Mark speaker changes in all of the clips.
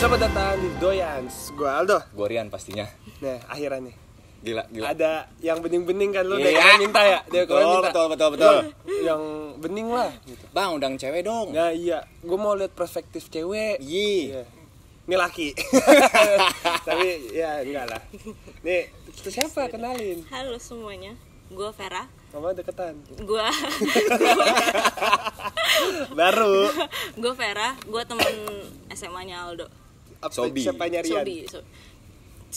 Speaker 1: Selamat datang di Doyans. Gua Aldo.
Speaker 2: Gorian pastinya.
Speaker 1: Nah, akhirnya nih.
Speaker 2: Gila, gila.
Speaker 1: Ada yang bening-bening kan lu
Speaker 2: Iya.
Speaker 1: dari kemarin minta ya? Dari
Speaker 2: Betul,
Speaker 1: kemarin minta.
Speaker 2: betul, betul, betul.
Speaker 1: Lu Yang bening lah gitu.
Speaker 2: Bang, undang cewek dong.
Speaker 1: Nah, iya. Gua mau lihat perspektif cewek. Iya.
Speaker 2: Iya.
Speaker 1: Ini laki. Tapi ya enggak lah. Nih, itu siapa kenalin?
Speaker 3: Halo semuanya, gue Vera.
Speaker 1: Sama deketan.
Speaker 3: Gue
Speaker 1: Baru.
Speaker 3: gue Vera, gue teman SMA-nya Aldo.
Speaker 1: Apa,
Speaker 2: Sobi.
Speaker 1: Siapanya Rian?
Speaker 3: Sobi. So...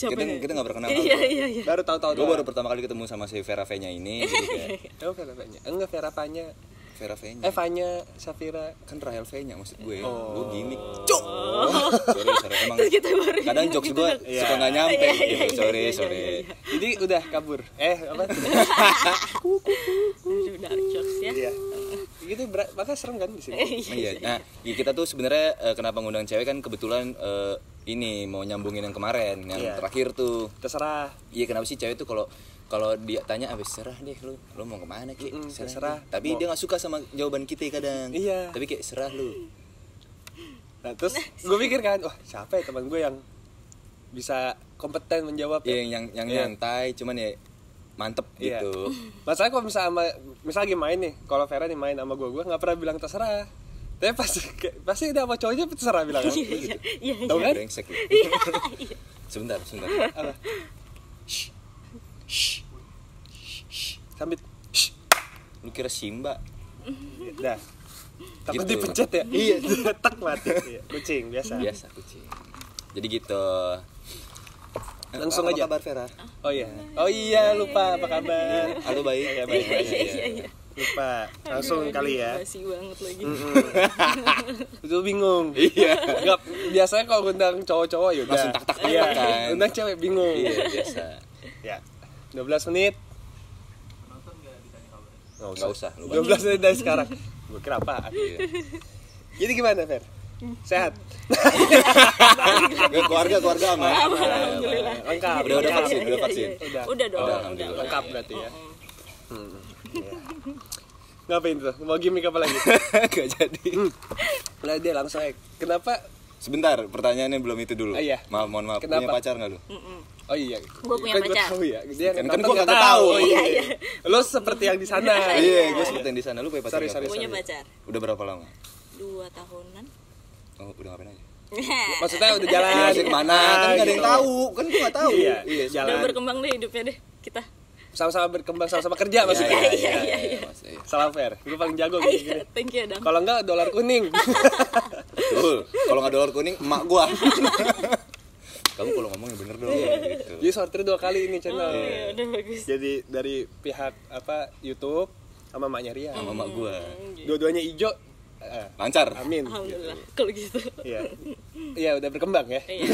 Speaker 2: Kita
Speaker 3: ya?
Speaker 2: kita nggak berkenalan.
Speaker 3: Iya iya iya.
Speaker 1: Baru tahu-tahu
Speaker 2: Gue baru
Speaker 1: doang.
Speaker 2: pertama kali ketemu sama si Vera V-nya ini. jadi kayak,
Speaker 3: iya.
Speaker 1: Oh, Vera Fanya. Enggak Vera Fanya.
Speaker 2: Vera V-nya.
Speaker 1: Eh Fanya, Safira.
Speaker 2: kan Rahel V-nya maksud gue. Gue gimmick. Cuk. sorry, sorry. Emang
Speaker 3: Oh. Terus kita baru
Speaker 2: kadang jokes gue
Speaker 1: Iya.
Speaker 2: suka nggak nyampe.
Speaker 3: Iya, iya,
Speaker 2: gitu.
Speaker 3: iya,
Speaker 2: Sorry,
Speaker 3: iya,
Speaker 2: sorry.
Speaker 3: iya, iya.
Speaker 1: Jadi udah kabur. Eh, apa?
Speaker 3: Aduh, dark jokes ya.
Speaker 1: Iya. Gitu ber- makanya serem kan di sini.
Speaker 3: Iya.
Speaker 2: Iya. Nah, ya kita tuh sebenarnya eh, kenapa ngundang cewek kan kebetulan eh, ini mau nyambungin yang kemarin, yang
Speaker 1: Iya.
Speaker 2: terakhir tuh.
Speaker 1: Terserah.
Speaker 2: Iya kenapa sih cewek tuh kalau kalau dia tanya abis serah deh lu lu mau kemana ki
Speaker 1: Mm-mm,
Speaker 2: serah,
Speaker 1: terserah.
Speaker 2: deh."
Speaker 1: Mau-
Speaker 2: tapi dia nggak suka sama jawaban kita kadang
Speaker 1: Iya.
Speaker 2: tapi kayak serah lu
Speaker 1: Nah, terus gue mikir kan, wah siapa ya teman gue yang bisa kompeten menjawab ya?
Speaker 2: Iya, yang yang yang
Speaker 1: Iya.
Speaker 2: nyantai cuman ya mantep
Speaker 1: Iya.
Speaker 2: gitu
Speaker 1: Masalahnya kalau misalnya sama misal lagi main nih, kalau Vera nih main sama gue, gue nggak pernah bilang terserah. Tapi pasti pasti udah sama cowoknya terserah bilang kan.
Speaker 3: Iya iya. iya.
Speaker 1: Tahu kan? Iya.
Speaker 2: brengsek lu. sebentar sebentar
Speaker 1: Apa? Sambit. Shh.
Speaker 2: lu kira Simba
Speaker 1: Dah. Takut
Speaker 2: Gitu.
Speaker 1: dipencet ya? Iya, tak mati. Iya, Kucing biasa.
Speaker 2: biasa kucing jadi gitu Eh,
Speaker 1: Langsung
Speaker 2: apa
Speaker 1: aja.
Speaker 2: kabar Vera
Speaker 1: Oh iya. Oh iya, lupa apa kabar?
Speaker 2: halo baik
Speaker 1: Iya, baik, baik,
Speaker 2: Iya,
Speaker 3: iya, iya.
Speaker 1: Lupa. Langsung
Speaker 3: Aduh,
Speaker 1: kali ya.
Speaker 3: Basi banget lagi.
Speaker 1: Itu bingung.
Speaker 2: Iya.
Speaker 1: Enggak, biasanya kalau ngundang cowok-cowok ya udah.
Speaker 2: Langsung tak, tak, tak,
Speaker 1: Iya.
Speaker 2: tak, kan.
Speaker 1: Undang cewek bingung.
Speaker 2: iya biasa
Speaker 1: Ya. 12 menit. Nonton
Speaker 2: nggak usah lu
Speaker 1: ditanya 12 menit dari sekarang. Gue kira apa?
Speaker 2: Iya.
Speaker 1: Jadi gimana, Fer? Sehat.
Speaker 2: Gak, keluarga keluarga aman
Speaker 3: Alhamdulillah.
Speaker 1: Lengkap.
Speaker 2: udah udah
Speaker 1: lengkap.
Speaker 2: vaksin udah
Speaker 3: Iya,
Speaker 2: vaksin
Speaker 3: iya.
Speaker 1: Udah.
Speaker 3: Udah
Speaker 2: Udah,
Speaker 3: dong. Udah.
Speaker 2: alhamdulillah.
Speaker 1: Lengkap berarti ya. Hmm. Iya. Ngapain tuh? Mau gimmick apa lagi?
Speaker 2: gak jadi
Speaker 1: Lah dia langsung aja. Kenapa?
Speaker 2: Sebentar, pertanyaannya belum itu dulu.
Speaker 1: Ah, iya.
Speaker 2: Maaf, mohon maaf.
Speaker 1: Kenapa?
Speaker 2: Punya pacar Oh, nggak lu?
Speaker 1: Oh iya.
Speaker 3: Gua punya
Speaker 1: Kan gua
Speaker 3: pacar.
Speaker 1: tahu ya. Dia
Speaker 2: Kan- kan
Speaker 1: nonton
Speaker 2: gua
Speaker 1: nggak
Speaker 2: kagak tahu.
Speaker 1: Oh, iya, iya. Lo seperti yang di sana.
Speaker 2: Iya, gue sebutin di sana. Lu punya pacar
Speaker 1: Sorry,
Speaker 2: nggak?
Speaker 1: sorry,
Speaker 3: Punya
Speaker 1: sorry.
Speaker 3: pacar
Speaker 2: Udah berapa lama?
Speaker 3: dua tahunan.
Speaker 2: Oh, udah ngapain aja?
Speaker 1: Maksudnya udah jalan.
Speaker 2: Iya, sih kemana? Kan nggak ada yang
Speaker 3: Iya.
Speaker 1: gitu.
Speaker 2: tahu. Kan gue nggak tahu.
Speaker 1: Iya,
Speaker 3: Udah
Speaker 1: jalan.
Speaker 3: berkembang deh hidupnya deh kita.
Speaker 1: Sama-sama berkembang, sama-sama kerja maksudnya.
Speaker 2: iya, iya, iya. Mas, iya.
Speaker 1: Salam fair. Gue paling jago gini.
Speaker 3: Iya, thank you dong.
Speaker 1: Kalau enggak dolar kuning.
Speaker 2: Betul. Kalau nggak dolar kuning, emak gua. Kamu kalau ngomong yang bener dong. Gitu.
Speaker 1: Jadi sortir dua kali ini channel.
Speaker 3: Oh, iya, udah bagus.
Speaker 1: Jadi dari pihak apa YouTube sama maknya Ria.
Speaker 3: Hmm,
Speaker 2: Sama emak gua.
Speaker 1: Dua-duanya hijau. Eh,
Speaker 2: Lancar.
Speaker 1: amin.
Speaker 3: gitu. Alhamdulillah. Kalau gitu.
Speaker 1: Iya. Iya, udah berkembang ya.
Speaker 3: Iya.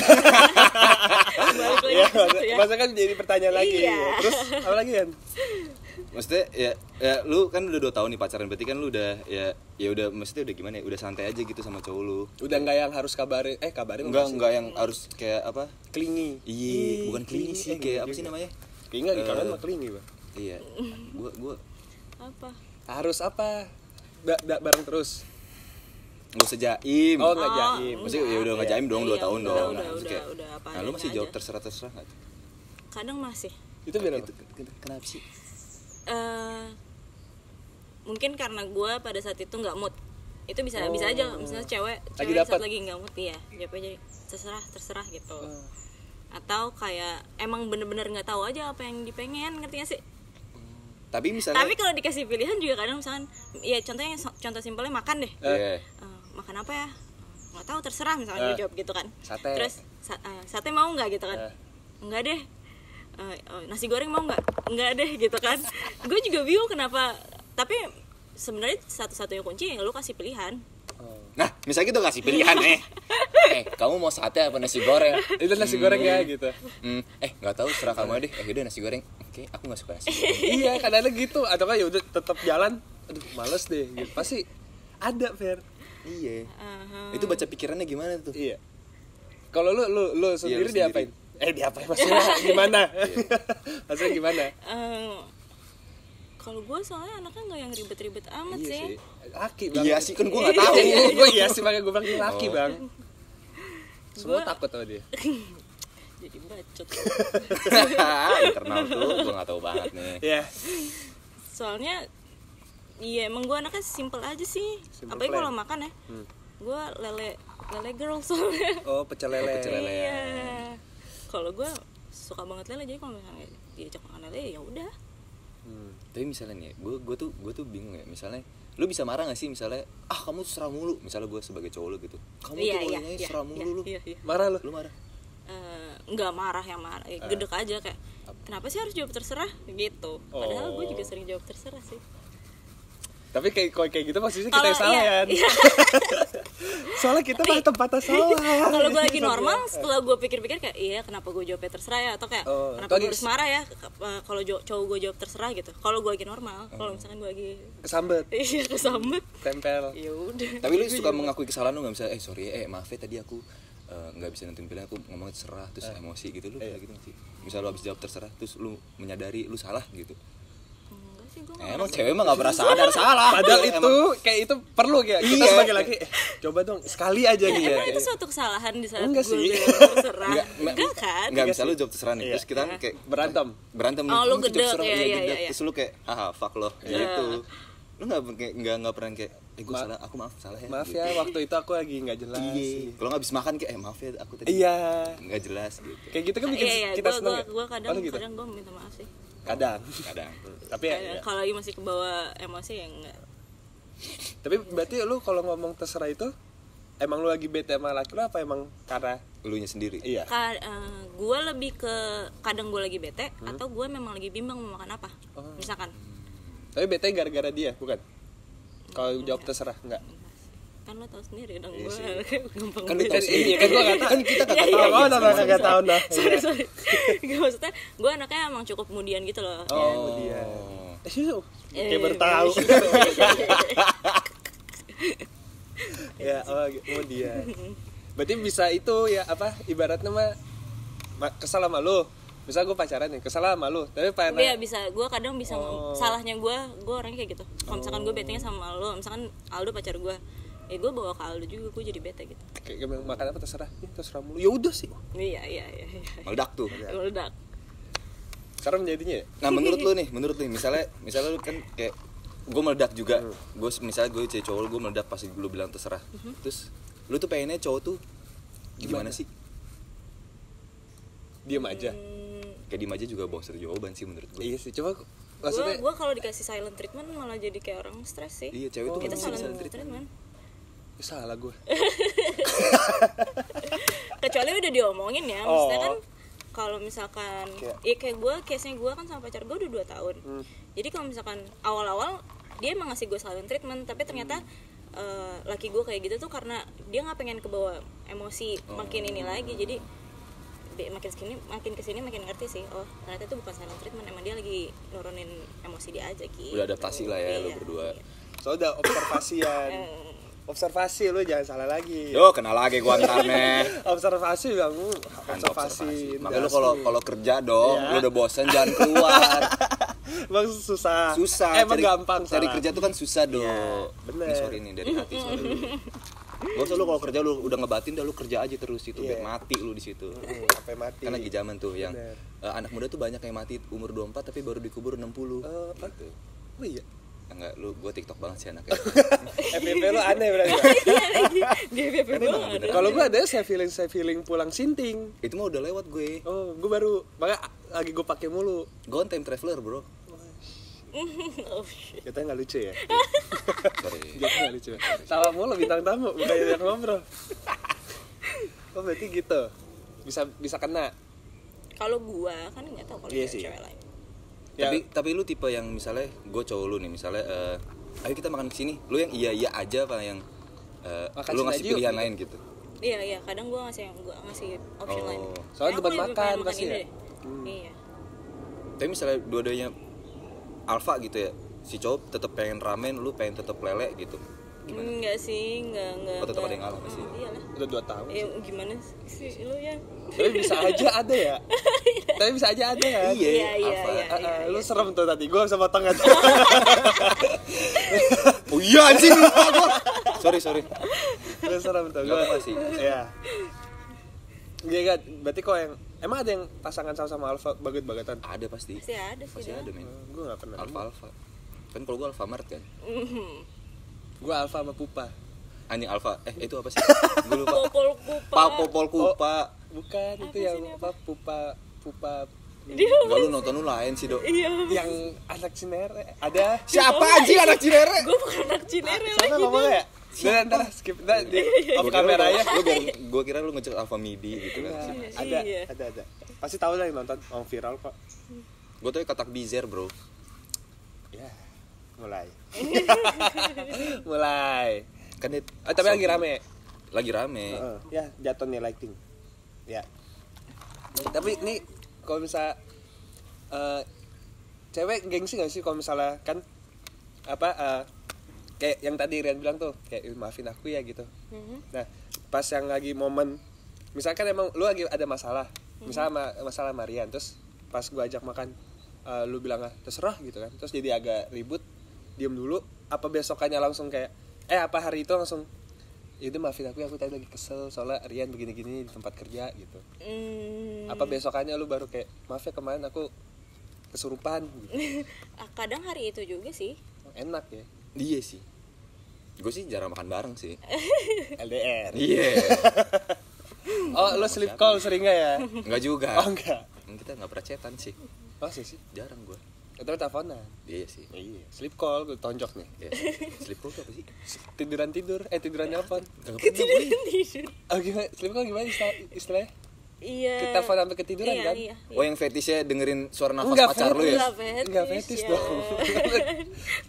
Speaker 3: Balik lagi
Speaker 1: Iya,
Speaker 3: ke situ
Speaker 1: masa-
Speaker 3: ya.
Speaker 1: masa kan jadi pertanyaan lagi.
Speaker 3: Iya.
Speaker 1: Terus apa lagi kan?
Speaker 2: Maksudnya ya, ya lu kan udah 2 tahun nih pacaran berarti kan lu udah ya ya udah maksudnya udah gimana ya? Udah santai aja gitu sama cowok lu.
Speaker 1: Udah nggak yang harus kabarin, eh kabarin
Speaker 2: Enggak
Speaker 1: masih.
Speaker 2: enggak yang harus kayak apa?
Speaker 1: Klingi.
Speaker 2: Iya, bukan klinis sih,
Speaker 1: eh,
Speaker 2: kayak apa
Speaker 1: enggak
Speaker 2: sih
Speaker 3: iya.
Speaker 1: juga.
Speaker 2: namanya?
Speaker 1: Klingi nggak
Speaker 2: Eh.
Speaker 1: kangen mah klingi, Bang.
Speaker 2: Iya, gua gua
Speaker 3: Apa?
Speaker 1: Harus apa? Ba ba- bareng terus.
Speaker 2: nggak usah jaim.
Speaker 1: Oh, nggak jaim.
Speaker 2: Maksudnya ya udah nggak jaim dong 2
Speaker 3: Iya,
Speaker 2: tahun
Speaker 3: udah,
Speaker 2: dong.
Speaker 3: udah,
Speaker 2: Nah, terus
Speaker 3: udah,
Speaker 2: kayak,
Speaker 3: udah, apa
Speaker 2: nah, lu masih
Speaker 3: adanya
Speaker 2: jawab
Speaker 3: aja.
Speaker 2: terserah terserah nggak? tuh?
Speaker 3: Kadang masih.
Speaker 1: Itu biar apa?
Speaker 2: Itu ken- ken- kenapa sih?
Speaker 3: eh mungkin karena gue pada saat itu nggak mood itu bisa bisa aja misalnya cewek
Speaker 1: Oh. Lagi
Speaker 3: cewek saat
Speaker 1: dapet. Hmm.
Speaker 3: lagi nggak mood ya jawabnya jadi terserah terserah gitu atau kayak emang bener-bener nggak tahu aja apa yang dipengen ngerti gak sih
Speaker 2: Tapi misalnya,
Speaker 3: tapi kalau dikasih pilihan juga kadang misalkan ya contohnya so- contoh simpelnya makan deh
Speaker 2: Iya.
Speaker 3: Eh, makan apa ya nggak tahu terserah
Speaker 1: Eh.
Speaker 3: misalnya dia jawab gitu kan
Speaker 1: Sate.
Speaker 3: terus sa- eh, sate mau nggak gitu kan
Speaker 1: Eh.
Speaker 3: nggak deh Eh, eh, nasi goreng mau nggak nggak deh gitu kan gue juga bingung kenapa tapi sebenarnya satu-satunya kunci ya lu kasih pilihan
Speaker 2: nah misalnya gitu kasih pilihan eh, eh kamu mau sate apa nasi goreng?
Speaker 1: Itu nasi goreng ya gitu.
Speaker 2: Hmm, eh nggak tahu serah kamu deh. Eh udah nasi goreng. Oke, aku nggak suka nasi. goreng.
Speaker 1: iya, kadang gitu atau kan ya udah tetap jalan. Aduh, males deh gitu. Pasti ada, Fer.
Speaker 2: Iya.
Speaker 3: Aha.
Speaker 2: Itu baca pikirannya gimana tuh?
Speaker 1: Iya. Kalau lu lu Iya, lu sendiri Iya.
Speaker 2: sendiri.
Speaker 1: diapain? Eh, diapain maksudnya? gimana? maksudnya gimana?
Speaker 3: Eh, kalau gue soalnya anaknya nggak yang ribet-ribet amat
Speaker 2: Iya
Speaker 3: sih
Speaker 2: sih.
Speaker 1: Laki, Bang.
Speaker 2: Iya sih kan gua nggak tahu.
Speaker 1: Oh. gue iya sih makanya gue bilang ini laki,
Speaker 2: Oh.
Speaker 1: Bang. semua
Speaker 3: Gua-
Speaker 1: takut sama dia
Speaker 3: jadi bacot
Speaker 2: internal tuh gue nggak tahu banget nih
Speaker 1: ya
Speaker 3: soalnya iya emang gue anaknya simple aja sih
Speaker 1: Simple
Speaker 3: apalagi
Speaker 1: plan.
Speaker 3: kalau makan ya
Speaker 1: Hmm.
Speaker 3: gue lele lele girl soalnya
Speaker 1: oh pecel lele
Speaker 2: Oh, pecel lele. Lelean.
Speaker 3: iya kalau gue suka banget lele jadi kalau misalnya diajak makan lele ya udah
Speaker 1: Hmm.
Speaker 2: tapi misalnya nih gue gue tuh gue tuh bingung ya misalnya lu bisa marah gak sih misalnya ah kamu tuh serang mulu misalnya gue sebagai cowok lu gitu kamu
Speaker 3: iya
Speaker 2: tuh
Speaker 3: iya
Speaker 2: orangnya
Speaker 3: iya
Speaker 2: serang
Speaker 3: iya,
Speaker 2: mulu lu
Speaker 3: iya, iya.
Speaker 1: marah lu
Speaker 2: lu marah
Speaker 3: Eh, nggak marah yang marah
Speaker 1: Eh.
Speaker 3: ya, gedek aja kayak kenapa sih harus jawab terserah gitu padahal gue juga
Speaker 1: Oh.
Speaker 3: sering jawab terserah sih
Speaker 1: tapi kayak kalau kayak gitu posisinya kita
Speaker 3: Kalau-
Speaker 1: yang salah
Speaker 3: iya,
Speaker 1: ya soalnya kita malah tempatnya salah
Speaker 3: kalau gue
Speaker 1: ya.
Speaker 3: lagi
Speaker 1: Eh.
Speaker 3: normal setelah gue pikir-pikir kayak iya kenapa gue jawabnya terserah ya atau kayak
Speaker 1: Oh,
Speaker 3: kenapa
Speaker 1: atau
Speaker 3: gue harus
Speaker 1: gini-
Speaker 3: marah ya eh, kalau jo- cowok gue jawab terserah gitu kalau gue lagi normal
Speaker 1: Hmm.
Speaker 3: kalau misalkan gue lagi
Speaker 1: kesambet
Speaker 3: iya kesambet
Speaker 1: tempel
Speaker 3: ya udah
Speaker 2: tapi lu suka mengakui kesalahan lu nggak misalnya eh sorry ya, eh maaf ya tadi aku eh, nggak bisa nentuin pilihan aku ngomong terserah terus
Speaker 1: Eh.
Speaker 2: emosi gitu lu kayak gitu nggak sih misal lu habis jawab terserah terus lu menyadari lu salah gitu
Speaker 3: enggak sih gue
Speaker 2: Eh, emang cewek mah nggak pernah sadar salah
Speaker 1: padahal
Speaker 2: Emang-
Speaker 1: itu kayak itu perlu ya kita
Speaker 2: Iya.
Speaker 1: sebagai laki eh, coba dong sekali aja gitu ya
Speaker 3: Iya, emang itu suatu kesalahan di saat gue
Speaker 1: Enggak sih.
Speaker 3: bilang terserah
Speaker 2: Enggak, enggak,
Speaker 3: enggak kan
Speaker 2: Enggak, misalnya lu jawab terserah nih,
Speaker 1: Iya.
Speaker 2: terus kita kan kayak
Speaker 1: berantem
Speaker 2: berantem
Speaker 3: Oh, lu
Speaker 2: "Kamu tuh jawab
Speaker 3: gedek,
Speaker 2: terserah,
Speaker 3: iya, iya,
Speaker 2: gedek."
Speaker 3: iya.
Speaker 2: Terus lu kayak, ah fuck lo,
Speaker 3: Iya.
Speaker 2: gitu Lu gak, nggak nggak pernah kayak, eh gue
Speaker 1: Ma-
Speaker 2: salah, aku maaf, salah ya
Speaker 1: maaf
Speaker 2: gitu.
Speaker 1: ya waktu itu aku lagi nggak jelas
Speaker 2: Iya, kalau gak habis makan kayak, eh maaf ya aku tadi
Speaker 1: iya
Speaker 2: Nggak jelas gitu
Speaker 1: kayak gitu kan bikin
Speaker 3: iya iya
Speaker 1: kita
Speaker 3: gue
Speaker 1: seneng
Speaker 3: gue
Speaker 1: ya?
Speaker 3: gue kadang
Speaker 1: Oh, gitu?
Speaker 3: kadang gue minta maaf sih
Speaker 1: kadang
Speaker 2: Kadang
Speaker 1: tapi ya,
Speaker 3: Kayak
Speaker 1: ya.
Speaker 3: kalau lagi masih ke bawah emosi ya enggak
Speaker 1: tapi berarti lu kalau ngomong terserah itu emang lu lagi bete sama laki lu apa emang karena
Speaker 2: Elunya sendiri
Speaker 1: iya
Speaker 3: Ka- eh, gue lebih ke kadang gue lagi bete atau gue memang lagi bimbang mau makan apa
Speaker 1: Hmm? Oh.
Speaker 3: misalkan
Speaker 1: tapi bete gara-gara dia bukan kalau jawab terserah enggak
Speaker 3: kan lo tau sendiri dong
Speaker 2: Iya
Speaker 3: gue
Speaker 2: sih.
Speaker 3: gampang
Speaker 2: Kan lu tahu
Speaker 3: bete
Speaker 1: kan
Speaker 2: sendiri.
Speaker 1: iya kan gua kata kan kita
Speaker 3: Iya,
Speaker 1: kagak
Speaker 3: iya,
Speaker 1: tahu
Speaker 3: iya,
Speaker 1: oh
Speaker 3: sorry,
Speaker 1: nama
Speaker 3: sorry,
Speaker 1: kagak tahu nah
Speaker 3: sorry sorry Nggak, maksudnya gue anaknya emang cukup kemudian gitu loh
Speaker 1: oh dia
Speaker 2: Oh.
Speaker 1: Eh, siu.
Speaker 3: Eh,
Speaker 1: kayak baru tahu ya oh, gitu. oh dia berarti bisa itu ya apa ibaratnya mah ma- kesal sama lu misal gue pacaran nih kesal sama lu tapi
Speaker 3: Tapi
Speaker 1: karena
Speaker 3: ya bisa gue kadang bisa ngom-
Speaker 1: Iya, Oh.
Speaker 3: salahnya gue gue orangnya kayak gitu kalau misalkan gue betenya sama lo misalkan Aldo pacar gue ya gue bawa ke Aldo juga gue jadi bete gitu
Speaker 1: kayak gua bilang, makan apa terserah ya, terserah mulu ya udah sih
Speaker 3: iya iya iya, iya.
Speaker 2: Meledak tuh
Speaker 3: meledak
Speaker 1: sekarang jadinya ya
Speaker 2: Nah menurut lu nih, menurut lu nih, misalnya, misalnya lu kan kayak gue meledak juga,
Speaker 1: Hmm.
Speaker 2: gue misalnya gue cewek cowok gue meledak pas lu bilang terserah,
Speaker 3: Hmm.
Speaker 2: terus lu tuh pengennya cowok tuh gimana, sih?
Speaker 1: diam aja
Speaker 3: Hmm.
Speaker 2: Kayak diem aja juga bosen jawaban sih menurut gue.
Speaker 1: iya sih coba
Speaker 3: gue
Speaker 1: maksudnya
Speaker 3: gue kalau dikasih silent treatment malah jadi kayak orang stres sih
Speaker 2: Iya, cewek tuh
Speaker 3: kita
Speaker 2: masih
Speaker 3: silent,
Speaker 2: silent treatment.
Speaker 3: treatment.
Speaker 1: "Ih, salah gue
Speaker 3: kecuali udah diomongin ya maksudnya kan
Speaker 1: Oh.
Speaker 3: kalau misalkan
Speaker 1: Kayak-
Speaker 3: ya kayak gue case nya gue kan sama pacar gue udah 2 tahun
Speaker 2: Hmm.
Speaker 3: jadi kalau misalkan awal awal dia emang ngasih gue silent treatment tapi ternyata
Speaker 2: Hmm.
Speaker 3: eh, laki gue kayak gitu tuh karena dia nggak pengen kebawa emosi makin
Speaker 2: Oh.
Speaker 3: ini lagi jadi be- makin kesini makin kesini makin ngerti sih oh ternyata itu bukan silent treatment emang dia lagi nurunin emosi dia aja gitu
Speaker 2: Udah adaptasi lah ya lu
Speaker 3: Iya,
Speaker 2: berdua.
Speaker 3: iya.
Speaker 1: soalnya udah observasian
Speaker 3: Eh.
Speaker 1: observasi lu jangan salah lagi
Speaker 2: Yo kenal lagi gue ntar nih.
Speaker 1: observasi bang
Speaker 2: Kan
Speaker 1: observasi
Speaker 2: Makanya lu kalau kalau kerja dong,
Speaker 1: Iya.
Speaker 2: lu udah bosen jangan keluar.
Speaker 1: Emang susah
Speaker 2: Susah.
Speaker 1: emang
Speaker 2: cari-
Speaker 1: gampang
Speaker 2: Cari
Speaker 1: salah.
Speaker 2: kerja tuh kan susah dong.
Speaker 1: bener.
Speaker 2: Ini sorry nih dari hati sorry. lu. Gak usah lu kalau kerja lu udah ngebatin dah lu kerja aja terus itu
Speaker 1: Iya.
Speaker 2: biar mati lu di situ.
Speaker 1: Hmm, sampai mati
Speaker 2: Kan lagi zaman tuh yang
Speaker 1: Bener.
Speaker 2: eh, anak muda tuh banyak yang mati umur 24 tapi baru dikubur 60
Speaker 1: Eh, apa?
Speaker 2: gitu.
Speaker 1: oh iya
Speaker 2: Enggak, lu gue TikTok banget sih anaknya.
Speaker 1: FPP lu aneh berarti
Speaker 3: dia
Speaker 2: Kan
Speaker 3: dia banget
Speaker 1: kalau gue ada saya feeling saya feeling pulang sinting
Speaker 2: itu mah udah lewat gue.
Speaker 1: oh gue baru makanya lagi gue pakai mulu
Speaker 2: Gue on time traveler, Bro.
Speaker 3: Oh, shit.
Speaker 1: katanya nggak lucu ya
Speaker 2: Sorry.
Speaker 1: Joknya nggak lucu tawa mulu bintang tamu bukan yang ngobrol oh berarti gitu bisa bisa kena
Speaker 3: kalau gua kan nggak tahu kalau
Speaker 1: Iya sih.
Speaker 3: cewek lain
Speaker 1: Ya.
Speaker 2: Tapi tapi lu tipe yang misalnya gue cowok lu nih misalnya eh, ayo kita makan kesini lu yang iya iya aja apa yang eh,
Speaker 1: Makan
Speaker 2: lu
Speaker 1: sini
Speaker 2: ngasih
Speaker 1: aja yuk,
Speaker 2: pilihan
Speaker 1: gitu.
Speaker 2: lain gitu.
Speaker 3: Iya iya, kadang gue ngasih yang gue ngasih option
Speaker 2: Oh.
Speaker 3: lain.
Speaker 1: Soalnya tempat
Speaker 3: Kayaknya aku lebih
Speaker 1: makan
Speaker 3: pengen
Speaker 1: pasti
Speaker 3: ini
Speaker 1: ya?
Speaker 3: deh. Iya.
Speaker 2: Tapi misalnya dua-duanya alfa gitu ya. Si cowok tetap pengen ramen, lu pengen tetap lele gitu.
Speaker 3: Enggak sih, enggak enggak.
Speaker 2: Oh, tetap
Speaker 3: enggak.
Speaker 2: ada yang ngalah pasti.
Speaker 1: ya?
Speaker 3: Hmm, Iyalah.
Speaker 1: udah dua tahun
Speaker 3: Ya gimana sih lu ya?
Speaker 1: tapi bisa aja ada ya tapi bisa aja ada ya
Speaker 2: Iya,
Speaker 3: Iya iya
Speaker 2: apa?
Speaker 1: Ah, ah,
Speaker 3: iya.
Speaker 1: lu serem tuh tadi gue sama tengah
Speaker 2: Oh iya anjing lupa gua. Sorry, sorry.
Speaker 1: gue serem tuh
Speaker 2: Gak
Speaker 1: gue
Speaker 2: apa sih.
Speaker 1: ya Iya kan? Berarti kok yang emang ada yang pasangan sama-sama alfa baget-bagatan?
Speaker 2: ada pasti
Speaker 3: pasti ada sih
Speaker 2: pasti
Speaker 3: dah.
Speaker 2: ada men
Speaker 1: gue gak pernah.
Speaker 2: alfa alfa kan kalau gue alfamart kan
Speaker 1: Gue alfa sama pupa.
Speaker 2: anjing alfa eh itu apa sih gue lupa
Speaker 3: popol kupa
Speaker 2: pa popol kupa
Speaker 1: Bukan itu yang apa? Pupa pupa
Speaker 3: Oh.
Speaker 2: Enggak lu nonton lu lain sih dok
Speaker 3: iya
Speaker 1: yang anak cinere ada.
Speaker 2: Siapa anjing anak Cinere?
Speaker 3: gue bukan anak Cinere
Speaker 1: Sana
Speaker 3: lagi
Speaker 1: ngomong ya? Nah, ntar skip ntar di
Speaker 2: iya.
Speaker 1: off kamera ya.
Speaker 2: Gue kira, gua kira lu ngecek Alpha MIDI gitu
Speaker 1: Nah,
Speaker 2: kan.
Speaker 1: ada,
Speaker 3: Iya.
Speaker 1: ada, ada. Pasti tahu lah yang nonton orang viral kok.
Speaker 2: Gue tuh katak bizer bro.
Speaker 1: Ya, mulai. mulai.
Speaker 2: Kan dia,
Speaker 1: Oh, tapi lagi rame.
Speaker 2: Lagi rame.
Speaker 1: Heeh. Ya, jatuh nih lighting. Ya. Tapi ini kalau misalnya eh, cewek gengsi gak sih kalau misalnya kan apa eh, kayak yang tadi Rian bilang tuh kayak "Ih, maafin aku ya gitu. Nah, pas yang lagi momen misalkan emang lu lagi ada masalah, misalnya ma- masalah Marian terus pas gua ajak makan eh, lu bilang ah, terserah gitu kan. Terus jadi agak ribut, diem dulu apa besokannya langsung kayak eh apa hari itu langsung itu maafin aku ya aku tadi lagi kesel soalnya Rian begini-gini di tempat kerja gitu.
Speaker 3: Hmm,
Speaker 1: Apa besokannya lu baru kayak maaf ya kemarin aku kesurupan gitu.
Speaker 3: ah, kadang hari itu juga sih
Speaker 1: Enak ya.
Speaker 2: Iya sih. Gue sih jarang makan bareng sih.
Speaker 3: Iya.
Speaker 1: LDR.
Speaker 2: Iya.
Speaker 1: Oh, lu sleep call sering gak ya?
Speaker 2: Enggak juga. Hmm,
Speaker 1: Oh enggak.
Speaker 2: Kita enggak pernah cetan sih.
Speaker 1: Oh sih sih.
Speaker 2: Jarang gue.
Speaker 1: Itu teleponan.
Speaker 2: Iya sih.
Speaker 1: Iya. Sleep call gue tonjok nih.
Speaker 2: Iya. Sleep call tuh apa sih?
Speaker 1: Tiduran tidur, eh tiduran nelpon.
Speaker 2: Enggak pernah gue.
Speaker 3: tidur
Speaker 1: Oh gimana? Sleep call gimana istilah- istilahnya?
Speaker 3: iya
Speaker 1: Kita telepon sampai ketiduran
Speaker 3: iya,
Speaker 1: kan?
Speaker 3: iya, iya.
Speaker 2: Oh yang fetishnya dengerin suara nafas
Speaker 1: Enggak,
Speaker 2: pacar lu ya?
Speaker 3: Enggak fetish,
Speaker 1: Enggak fetis
Speaker 3: ya.
Speaker 1: dong.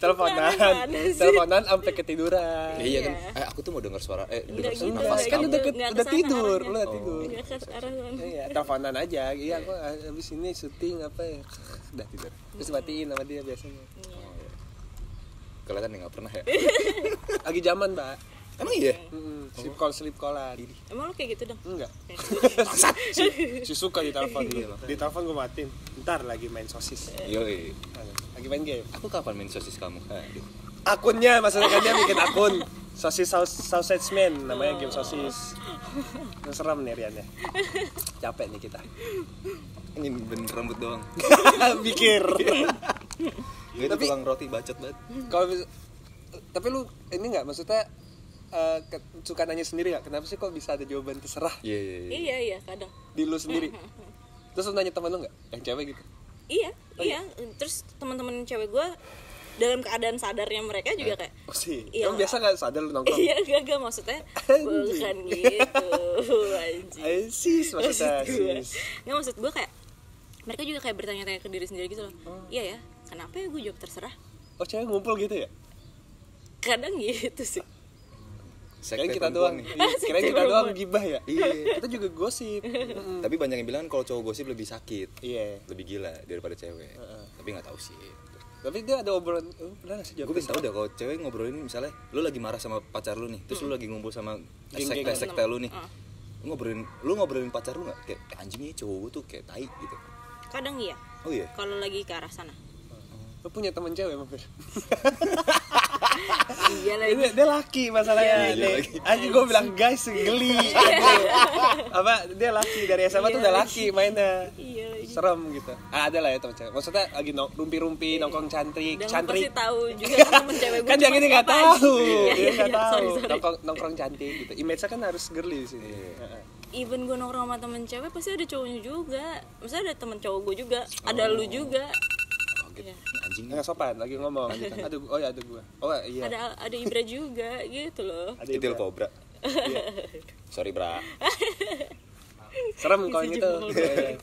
Speaker 1: teleponan,
Speaker 3: Mana-mana sih.
Speaker 1: teleponan sampai ketiduran.
Speaker 2: Iya kan.
Speaker 3: Iya.
Speaker 2: Eh, aku tuh mau denger suara eh denger
Speaker 3: Enggak gitu,
Speaker 2: suara nafas
Speaker 1: Enggak, kan
Speaker 2: kamu.
Speaker 1: udah, ke-
Speaker 3: Enggak
Speaker 1: udah
Speaker 3: kesana
Speaker 1: tidur,
Speaker 3: arahnya.
Speaker 1: lu udah tidur.
Speaker 3: Nggak ke arah sana.
Speaker 1: Iya, teleponan aja. Iya, aku habis ini syuting apa ya. Udah tidur. Terus matiin sama dia biasanya.
Speaker 2: Oh, iya. Kelihatan ya, nggak pernah ya.
Speaker 1: Lagi zaman, Mbak.
Speaker 2: Emang iya?
Speaker 1: Mm-mm, Sleep call, sleep callan.
Speaker 3: emang lu kayak gitu dong
Speaker 1: Enggak. si, si suka di telepon gua. Di telepon gue matiin. Ntar lagi main sosis.
Speaker 2: Yoi.
Speaker 1: Lagi main game.
Speaker 2: Aku kapan main sosis kamu? Aduh.
Speaker 1: akunnya maksudnya kan dia bikin akun sosis Saus- sausage man namanya game sosis Ini serem nih Rian ya capek nih kita
Speaker 2: Ini bener rambut doang.
Speaker 1: pikir
Speaker 2: Gak
Speaker 1: Tapi-
Speaker 2: Tapi... tukang roti bacot banget.
Speaker 1: kalau mis- tapi lu ini nggak maksudnya eh, ke- suka nanya sendiri nggak kenapa sih kok bisa ada jawaban terserah
Speaker 2: Iya, iya, iya.
Speaker 3: iya iya kadang
Speaker 1: di lu sendiri terus lu nanya teman lu nggak yang cewek gitu
Speaker 3: iya iya terus teman-teman cewek gue dalam keadaan sadarnya mereka juga kayak
Speaker 1: oh sih
Speaker 3: Iya.
Speaker 1: Emang biasa nggak sadar lu nongkrong
Speaker 3: iya gak gak maksudnya
Speaker 1: Anjing.
Speaker 3: bukan gitu anjing
Speaker 1: Eh, sis maksudnya
Speaker 3: maksud gue
Speaker 1: sis
Speaker 3: nggak maksud gue kayak mereka juga kayak bertanya-tanya ke diri sendiri gitu loh iya ya kenapa ya gue jawab terserah
Speaker 1: oh cewek ngumpul gitu ya
Speaker 3: kadang gitu sih
Speaker 2: Sekte
Speaker 1: kirain kita
Speaker 2: perempuan
Speaker 1: doang
Speaker 2: nih.
Speaker 1: Iya, kirain kita
Speaker 3: perempuan.
Speaker 1: doang gibah ya
Speaker 2: Iya.
Speaker 1: itu juga gosip Mm-mm.
Speaker 2: Tapi banyak yang bilang kalau cowok gosip lebih sakit,
Speaker 1: iya
Speaker 2: lebih gila daripada cewek. Tapi nggak tahu sih.
Speaker 1: tapi dia ada obrolan oh, pernah nggak sih
Speaker 2: Gue bisa tahu dah kalau cewek ngobrolin misalnya lu lagi marah sama pacar lu nih, terus lu lagi ngumpul sama
Speaker 1: Hmm. Geng-geng. gitu.
Speaker 2: sekte-sekte lu nih. Lu ngobrolin lu ngobrolin pacar lu nggak kayak anjingnya cowok gua tuh kayak tai gitu.
Speaker 3: kadang iya
Speaker 2: Oh iya.
Speaker 3: kalau lagi ke arah sana
Speaker 1: lu punya teman cewek emang Fir?
Speaker 3: iya lagi
Speaker 1: dia, dia laki masalahnya
Speaker 2: Iya, iya,
Speaker 1: nih
Speaker 2: laki.
Speaker 1: anjing gue bilang guys geli apa dia laki dari SMA tuh
Speaker 3: Iya,
Speaker 1: udah laki mainnya
Speaker 3: iya lagi
Speaker 1: serem gitu ah, ada lah ya teman cewek maksudnya lagi no-
Speaker 3: Iya.
Speaker 1: rumpi-rumpi nongkrong cantrik
Speaker 3: dan lu
Speaker 1: cantrik
Speaker 3: pasti tahu juga kan temen cewek gue
Speaker 1: kan dia gini nggak tahu dia nggak
Speaker 3: Iya, sorry,
Speaker 1: tahu Nah,
Speaker 3: sorry.
Speaker 1: nongkrong nongkrong cantik gitu image-nya kan harus girly di sini
Speaker 2: Iya.
Speaker 1: Heeh.
Speaker 3: even gue nongkrong sama temen cewek pasti ada cowoknya juga maksudnya ada temen cowok gue juga
Speaker 2: Oh.
Speaker 3: ada lu juga
Speaker 2: Kaget.
Speaker 3: Iya.
Speaker 2: Anjing nih.
Speaker 1: nggak sopan lagi ngomong aduh oh ya ada gue oh iya
Speaker 3: ada ada Ibra juga gitu loh
Speaker 1: Ada Iya.
Speaker 2: Itil
Speaker 1: Ibra.
Speaker 2: kobra. Sorry, Bra.
Speaker 1: serem kalau yang itu
Speaker 3: jempol.
Speaker 1: Iya.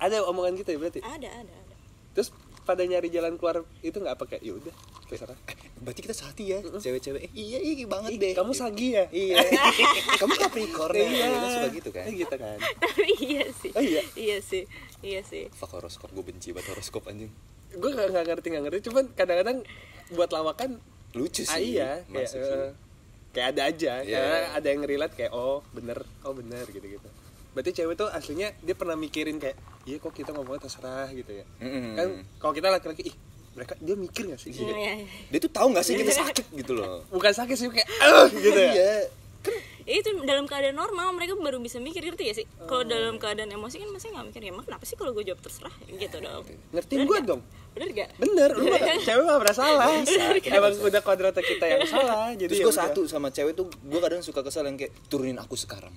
Speaker 1: ada omongan gitu ya berarti
Speaker 3: ada ada ada
Speaker 1: terus pada nyari jalan keluar itu nggak apa kayak yaudah terserah
Speaker 2: Berarti kita sehati ya, cewek-cewek. Eh, iya, iya banget deh.
Speaker 1: kamu sagi ya
Speaker 2: Iya. Kamu Capricorn ya.
Speaker 1: iya
Speaker 2: Lu suka gitu kan?
Speaker 1: Eh, gitu kan
Speaker 3: tapi iya sih
Speaker 1: Oh, iya?
Speaker 3: sih iya sih
Speaker 2: Fuck horoskop, gue benci banget horoskop anjing.
Speaker 1: gue nggak nggak ngerti nggak ngerti cuman kadang-kadang buat lawakan
Speaker 2: Lucu sih.
Speaker 1: ah iya kayak
Speaker 2: Masuk
Speaker 1: eh,
Speaker 2: sih.
Speaker 1: kayak ada aja
Speaker 2: Iya.
Speaker 1: karena ada yang relate kayak oh bener oh bener gitu gitu berarti cewek tuh aslinya dia pernah mikirin kayak iya kok kita ngomongnya terserah gitu ya
Speaker 2: Mm-mm.
Speaker 1: kan kalau kita laki-laki ih mereka dia mikir gak sih
Speaker 3: Iya, iya.
Speaker 2: Dia tuh tahu gak sih kita sakit gitu loh.
Speaker 1: bukan sakit sih kayak "Ugh," gitu ya
Speaker 2: Iya. Kan
Speaker 3: ya itu dalam keadaan normal mereka baru bisa mikir ngerti ya sih
Speaker 2: Oh.
Speaker 3: kalau dalam keadaan emosi kan masih nggak mikir ya emang kenapa sih kalau gue jawab terserah gitu dong
Speaker 2: Iya.
Speaker 1: Ngertiin
Speaker 3: Iya.
Speaker 1: gue dong.
Speaker 3: bener gak
Speaker 1: Bener, lu
Speaker 3: Iya.
Speaker 1: mah cewek mah pernah salah.
Speaker 3: gitu.
Speaker 1: Emang udah kodratnya kita yang salah. Jadi ya
Speaker 2: Terus gue satu sama cewek tuh gue kadang suka kesel yang kayak turunin aku sekarang.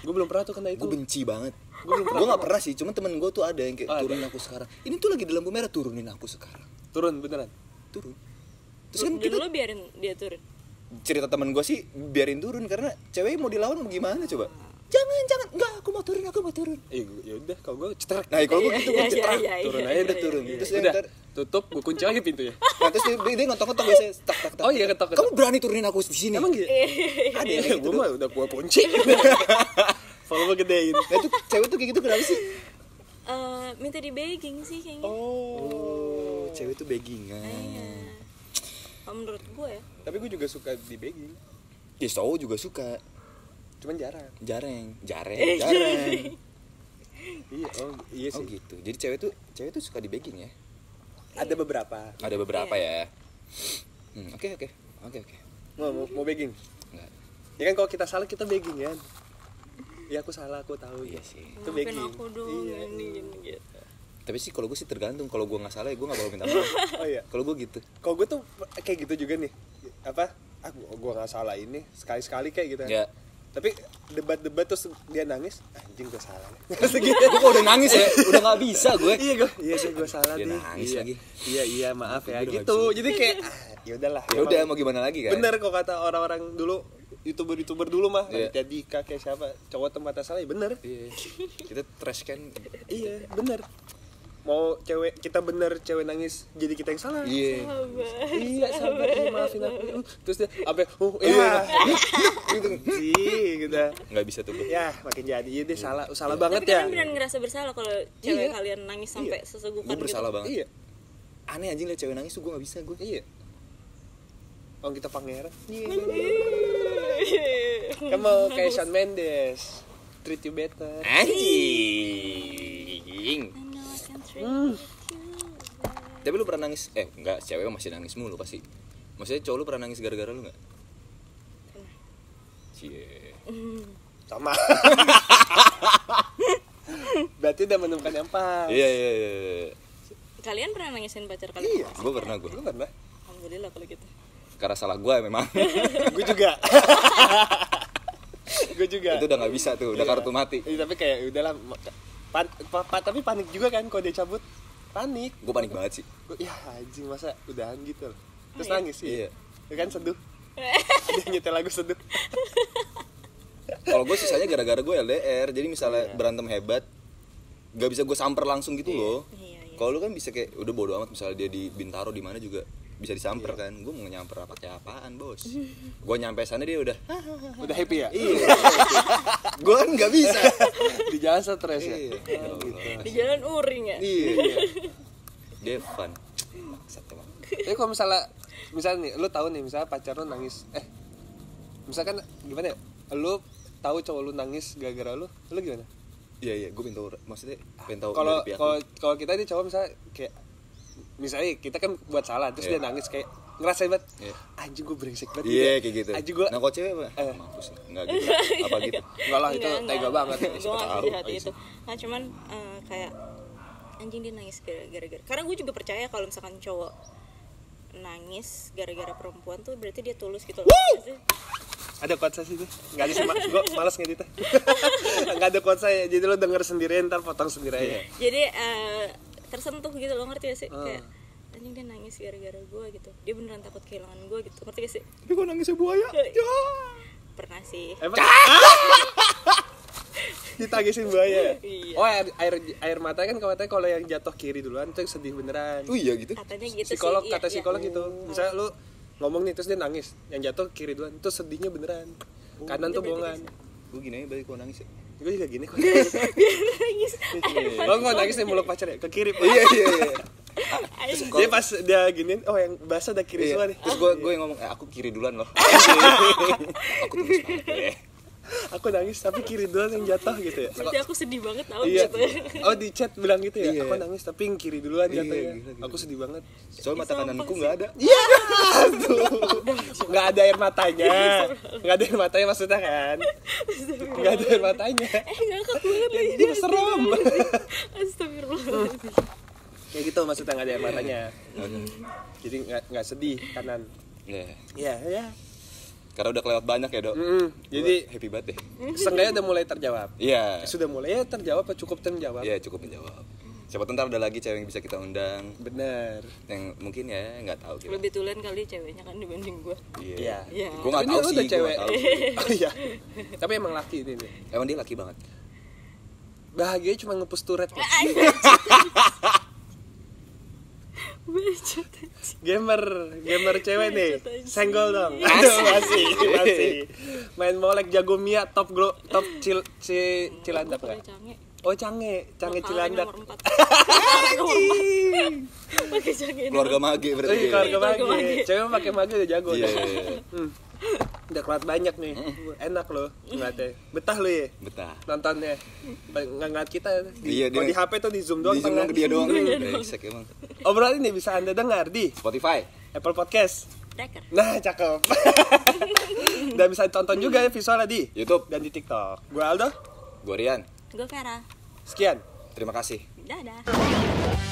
Speaker 1: Gue belum pernah tuh kena itu.
Speaker 2: Gue benci banget.
Speaker 1: Gua belum
Speaker 2: Gue nggak pernah sih, cuman temen gue tuh ada yang kayak
Speaker 1: Oh, ada.
Speaker 2: turunin aku sekarang. Ini tuh lagi di lampu merah turunin aku sekarang.
Speaker 1: Turun beneran.
Speaker 2: Turun. Terus kan
Speaker 3: dan
Speaker 2: kita
Speaker 3: lo biarin dia turun
Speaker 2: cerita temen gue sih biarin turun karena cewek mau dilawan mau gimana coba? Jangan jangan enggak aku mau turun aku mau turun.
Speaker 1: Eh, gua- ya udah kalau gue cetrek.
Speaker 2: Nah kalau gue
Speaker 3: Iya,
Speaker 2: gitu
Speaker 3: iya,
Speaker 2: gue
Speaker 3: iya,
Speaker 2: cetrah
Speaker 3: iya,
Speaker 2: turun
Speaker 3: iya,
Speaker 2: aja udah
Speaker 3: iya,
Speaker 2: turun.
Speaker 3: iya,
Speaker 2: Terus yang
Speaker 1: udah
Speaker 2: ntar
Speaker 1: tutup, gue kunci lagi pintunya.
Speaker 2: Nah, terus dia, dia ngetok-ngetok biasanya tak tak tak.
Speaker 1: Oh iya ketok
Speaker 2: Kamu
Speaker 1: ketok.
Speaker 2: berani turunin aku di sini?
Speaker 1: Emang gitu.
Speaker 2: Ada yang
Speaker 1: Iya,
Speaker 2: kayak gitu.
Speaker 1: gue mah udah gue kunci. Follow gue gedein.
Speaker 2: Nah, itu cewek tuh kayak gitu kenapa sih?
Speaker 3: Eh, minta di begging sih kayaknya
Speaker 2: Oh, cewek tuh baggingan.
Speaker 3: Iya. Kalau menurut gue ya
Speaker 1: Tapi gue juga suka di begging.
Speaker 2: Ya, cowok juga suka.
Speaker 1: Cuman jarang.
Speaker 2: Jarang,
Speaker 1: Eh,
Speaker 2: jarang, jarang.
Speaker 1: Iya, oh, iya
Speaker 2: Oh
Speaker 1: sih.
Speaker 2: gitu. Jadi cewek tuh cewek tuh suka di begging ya.
Speaker 1: Ada beberapa.
Speaker 2: Ada beberapa
Speaker 1: Iya.
Speaker 2: ya. Hmm, Oke oke oke oke.
Speaker 1: Mau mau, mau begging.
Speaker 2: Enggak.
Speaker 1: Ya kan kalau kita salah kita begging kan. Ya aku salah, aku tahu.
Speaker 2: Iya sih.
Speaker 1: Itu
Speaker 3: maafin
Speaker 1: begging.
Speaker 3: aku dong
Speaker 1: Iya.
Speaker 3: ini gini, gitu
Speaker 2: Tapi sih kalau gue sih tergantung. Kalau gue nggak salah ya gue nggak bakal minta maaf.
Speaker 1: Oh iya.
Speaker 2: Kalau gue gitu.
Speaker 1: Kalau gue tuh kayak gitu juga nih. Apa? Aku gue nggak salah ini sekali-sekali kayak gitu.
Speaker 2: Ya.
Speaker 1: Tapi debat-debat terus dia nangis, anjing gue salah. gitu. nih.
Speaker 2: Segitu gue udah nangis ya. Udah nggak bisa gue.
Speaker 1: iya gue, iya sih gue salah
Speaker 2: Dia
Speaker 1: nih.
Speaker 2: nangis
Speaker 1: iya.
Speaker 2: lagi.
Speaker 1: Iya iya maaf ya
Speaker 2: Udah nggak
Speaker 1: gitu. Jadi kayak ah, ya udahlah.
Speaker 2: Ya udah
Speaker 1: Emang
Speaker 2: mau gimana lagi kan?
Speaker 1: Bener kok kata orang-orang dulu youtuber-youtuber dulu mah
Speaker 2: Iya.
Speaker 1: Raditya Dika kayak siapa cowok tempat salah ya bener
Speaker 2: Iya. Kita trash kan.
Speaker 1: iya bener mau cewek kita bener cewek nangis jadi kita yang salah
Speaker 2: Iya.
Speaker 1: iya sabar iya, maafin aku terus dia apa oh
Speaker 2: Iya.
Speaker 1: iya gitu sih gitu
Speaker 2: Nggak bisa tuh. gue.
Speaker 1: ya makin jadi iya dia salah salah banget
Speaker 3: tapi
Speaker 1: ya
Speaker 3: kalian beneran ngerasa bersalah kalau
Speaker 1: Iya.
Speaker 3: cewek kalian nangis sampai sesegukan
Speaker 2: Gue bersalah
Speaker 3: gitu.
Speaker 2: banget.
Speaker 1: iya
Speaker 2: Aneh anjing liat cewek nangis tuh gue nggak bisa gue.
Speaker 1: iya Orang kita pangeran Iya.
Speaker 3: Iya.
Speaker 1: Kan mau kayak Shawn Mendes Treat you better
Speaker 2: Anjing.
Speaker 3: I know I can treat you.
Speaker 2: Tapi lu pernah nangis? Eh, enggak, cewek masih nangis mulu pasti. Maksudnya cowok lu pernah nangis gara-gara lu enggak? Cie.
Speaker 1: Sama Berarti udah menemukan yang pas
Speaker 2: Iya, iya, iya. iya.
Speaker 3: kalian pernah nangisin pacar kalian
Speaker 1: Iya
Speaker 2: Gua pernah gua.
Speaker 1: Lu pernah?
Speaker 3: alhamdulillah kalau gitu
Speaker 2: Karena salah gua memang.
Speaker 1: Gue juga Gue juga
Speaker 2: Itu udah nggak bisa tuh, udah
Speaker 1: Iya.
Speaker 2: kartu mati.
Speaker 1: Iya, tapi kayak udahlah mak- pan- pa- pa- tapi panik juga kan kalau dia cabut panik
Speaker 2: Gua panik banget sih.
Speaker 1: Gua, ya anjing masa udahan gitu loh terus
Speaker 3: iya?
Speaker 1: nangis sih
Speaker 2: Iya.
Speaker 1: ya kan seduh dia nyetel lagu seduh
Speaker 2: Kalau gua sisanya gara-gara gua LDR. Jadi misalnya berantem hebat, nggak bisa gua samper langsung gitu loh.
Speaker 3: Iya, iya.
Speaker 2: Kalau lu kan bisa kayak udah bodo amat misalnya dia di Bintaro di mana juga bisa disamper kan. Gua mau nyamper apa apaan, Bos. Gua nyampe sana dia udah
Speaker 1: udah happy ya
Speaker 2: Iya. gue kan nggak bisa
Speaker 1: di jalan stres ya
Speaker 2: Iya.
Speaker 1: Oh, gitu.
Speaker 3: di jalan uring ya
Speaker 2: iya dia fun Bangsat emang.
Speaker 1: Tapi kalau misalnya misalnya nih, lu tahu nih misalnya pacar lu nangis, eh misalkan gimana ya? Lu tahu cowok lu nangis gara-gara lu, lu gimana?
Speaker 2: iya iya gue pengen tahu maksudnya pengen tahu
Speaker 1: Kalau
Speaker 2: dari pihak
Speaker 1: kalau
Speaker 2: lu.
Speaker 1: kalau kita nih cowok misalnya kayak misalnya kita kan buat salah terus
Speaker 2: Iya.
Speaker 1: dia nangis kayak ngerasa banget
Speaker 2: Iya.
Speaker 1: anjing gue brengsek banget
Speaker 2: iya
Speaker 1: gitu.
Speaker 2: kayak gitu
Speaker 1: anjing gue
Speaker 2: nah kalau cewek apa
Speaker 1: Eh.
Speaker 2: mampus lah. nggak gitu apa gitu
Speaker 1: enggak lah itu tega banget Iya.
Speaker 3: gue
Speaker 2: Siapa
Speaker 3: gak
Speaker 2: tahu,
Speaker 3: sejahat
Speaker 2: ayo
Speaker 3: itu nah cuman eh, kayak anjing dia nangis gara- gara-gara karena gue juga percaya kalau misalkan cowok nangis gara-gara perempuan tuh berarti dia tulus gitu loh Maksudnya,
Speaker 1: ada quote saya sih tuh nggak ada sih ma- gue malas ngeditnya nggak ada quote saya jadi lo denger sendiri ntar potong sendiri aja
Speaker 2: Iya.
Speaker 3: jadi eh, tersentuh gitu loh ngerti gak sih
Speaker 1: Ah.
Speaker 3: kayak anjing dia nangis gara-gara gue gitu dia beneran takut kehilangan gue gitu ngerti gak sih
Speaker 2: tapi gue nangisnya buaya
Speaker 3: Ya. pernah sih
Speaker 1: Emang ditagisin buaya.
Speaker 3: Iya.
Speaker 1: Oh air air air mata kan katanya kalau yang jatuh kiri duluan tuh sedih beneran.
Speaker 2: oh iya Oh. gitu
Speaker 3: katanya gitu
Speaker 1: psikolog
Speaker 3: sih iya,
Speaker 1: kata
Speaker 3: iya.
Speaker 1: psikolog gitu. Misalnya lu ngomong nih terus dia nangis, yang jatuh kiri duluan tuh sedihnya beneran.
Speaker 2: Oh,
Speaker 1: Kanan
Speaker 3: Itu
Speaker 1: tuh bohongan.
Speaker 2: gue gini aja balik gue nangis ya
Speaker 1: Gue juga gini kok.
Speaker 3: biar nangis air
Speaker 1: Lo nggak nangis nih muluk pacar ya ke kiri.
Speaker 2: iya iya iya
Speaker 3: air
Speaker 1: Dia pas dia giniin, oh yang basah udah kiri
Speaker 2: Iya.
Speaker 1: semua nih.
Speaker 2: terus gue gue yang ngomong eh, aku kiri duluan loh aku tulus banget ya.
Speaker 1: Aku nangis tapi kiri duluan yang jatuh gitu ya.
Speaker 3: Berarti aku sedih banget tau
Speaker 1: Iya.
Speaker 3: gitu
Speaker 1: Oh di chat bilang gitu ya.
Speaker 2: Iya.
Speaker 1: Aku nangis tapi yang kiri duluan
Speaker 2: Iya,
Speaker 1: jatuh ya.
Speaker 2: gila, gila.
Speaker 1: Aku sedih banget.
Speaker 2: soal mata kananku nggak ada
Speaker 1: Iya. Aduh. nggak ada air matanya nggak ada air matanya maksudnya kan nggak ada air matanya
Speaker 3: eh ngakak banget lagi
Speaker 1: dia serem
Speaker 3: astagfirullahaladzim
Speaker 1: kayak gitu maksudnya nggak ada air matanya jadi nggak nggak sedih kanan
Speaker 2: Nah, Ya,
Speaker 1: ya ya
Speaker 2: karena udah kelewat banyak ya dok.
Speaker 1: Mm-mm. jadi
Speaker 2: Gua happy banget deh.
Speaker 1: seenggaknya udah mulai terjawab
Speaker 2: Iya,
Speaker 1: sudah mulai ya terjawab cukup terjawab
Speaker 2: iya cukup menjawab. Siapa tentar ada lagi cewek yang bisa kita undang
Speaker 1: bener
Speaker 2: yang mungkin ya nggak tahu kita.
Speaker 3: lebih tulen kali ceweknya kan dibanding gue
Speaker 1: Iya.
Speaker 3: Iya.
Speaker 2: Gue nggak
Speaker 1: Tapi
Speaker 2: tahu
Speaker 1: dia
Speaker 2: sih,
Speaker 1: udah
Speaker 2: gue
Speaker 1: cewek.
Speaker 2: nggak tahu.
Speaker 1: oh iya tapi emang laki ini nih
Speaker 2: Emang dia laki banget.
Speaker 1: bahagia cuma ngepus turret ya.
Speaker 3: Bacot
Speaker 1: gamer gamer cewek nih
Speaker 3: Anjing.
Speaker 1: senggol dong
Speaker 3: Iya.
Speaker 1: Aduh, masih masih main molek jago mia top gro, top cil ci, cilandak nggak
Speaker 3: cange
Speaker 1: oh cange cange
Speaker 3: Lokal
Speaker 1: cilandak
Speaker 3: Ah, nomor empat. Nomor empat. pakai cange nomor
Speaker 2: Keluarga mage berarti.
Speaker 1: Wih,
Speaker 2: dia.
Speaker 1: Iya, keluarga
Speaker 3: Keluarga
Speaker 1: mage
Speaker 3: mage.
Speaker 1: cewek pakai mage udah jago
Speaker 2: Iya.
Speaker 1: dah.
Speaker 2: iya, iya.
Speaker 1: Hmm. udah keluar banyak nih enak loh ngeliatnya betah lo ya
Speaker 2: Betah.
Speaker 1: nontonnya Paling nggak ngeliat kita di,
Speaker 2: Iya,
Speaker 1: kalau
Speaker 2: dia-
Speaker 1: di HP tuh di zoom doang
Speaker 2: Di zoom
Speaker 1: tengah.
Speaker 2: dong ke dia doang. Brengsek emang.
Speaker 1: obrolan ini bisa anda dengar di
Speaker 2: Spotify.
Speaker 1: Apple Podcast
Speaker 3: Daker.
Speaker 1: Nah, cakep. Dan bisa ditonton juga ya visualnya di
Speaker 2: YouTube.
Speaker 1: dan di TikTok. Gue Aldo.
Speaker 2: Gue Rian.
Speaker 3: gue Vera
Speaker 1: Sekian.
Speaker 2: Terima kasih.
Speaker 3: dadah